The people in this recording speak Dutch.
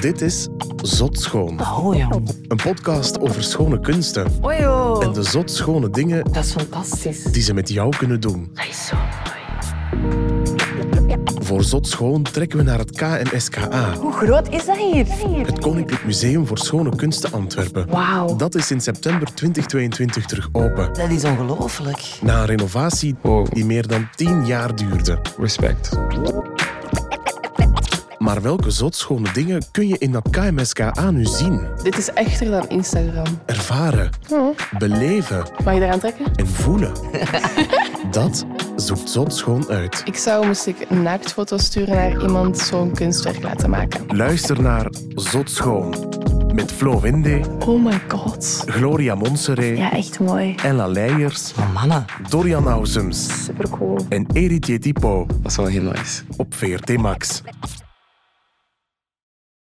Dit is Zot Schoon. Oh jong, Een podcast over schone kunsten Ojo, en de zot schone dingen dat is fantastisch. die ze met jou kunnen doen. Dat is zo mooi. Voor Zot Schoon trekken we naar het KNSKA, Hoe groot is dat hier? het Koninklijk Museum voor Schone Kunsten Antwerpen. Wauw, Dat is in september 2022 terug open, dat is ongelooflijk. na een renovatie Wow, die meer dan 10 jaar duurde. respect. Maar welke zotschone dingen kun je in dat KMSKA nu zien, Dit is echter dan Instagram. ervaren, beleven Mag je daaraan trekken? en voelen? Dat zoekt Zotschoon uit. Ik zou, moest ik een naaktfoto sturen naar iemand, zo'n kunstwerk laten maken. Luister naar Zotschoon met Flo Winde, Oh my god. Gloria Monseré, Ja, echt mooi. Ella Leijers, Maar mannen, Dorian Ausums Supercool. en Eritje Tipo Dat is wel heel nice. op VRT Max.